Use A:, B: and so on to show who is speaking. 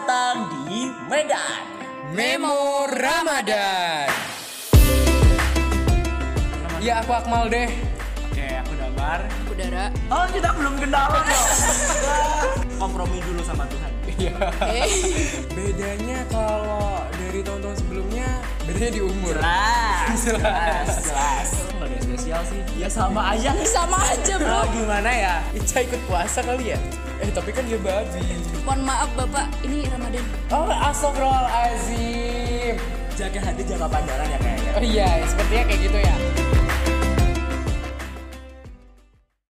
A: di Medan.
B: Memo Ramadan. Ya aku Akmal deh.
A: Oke, aku damar.
C: udara
A: Oh, kita belum kenalan dong. Kompromi dulu sama Tuhan.
B: Iya.
C: eh
B: Bedanya kalau dari tahun-tahun sebelumnya bedanya di umur.
A: Jelas,
B: jelas,
A: jelas. Nggak ada yang spesial sih. Ya sama aja.
C: sama aja
B: Oh
C: bro
B: gimana ya? Ica ikut puasa kali ya? Eh tapi kan dia babi.
C: mohon maaf bapak ini ramadan
B: Oh astagfirullahalazim.
A: Jaga hati, jaga pandangan ya kayaknya.
B: Oh iya, sepertinya kayak gitu ya.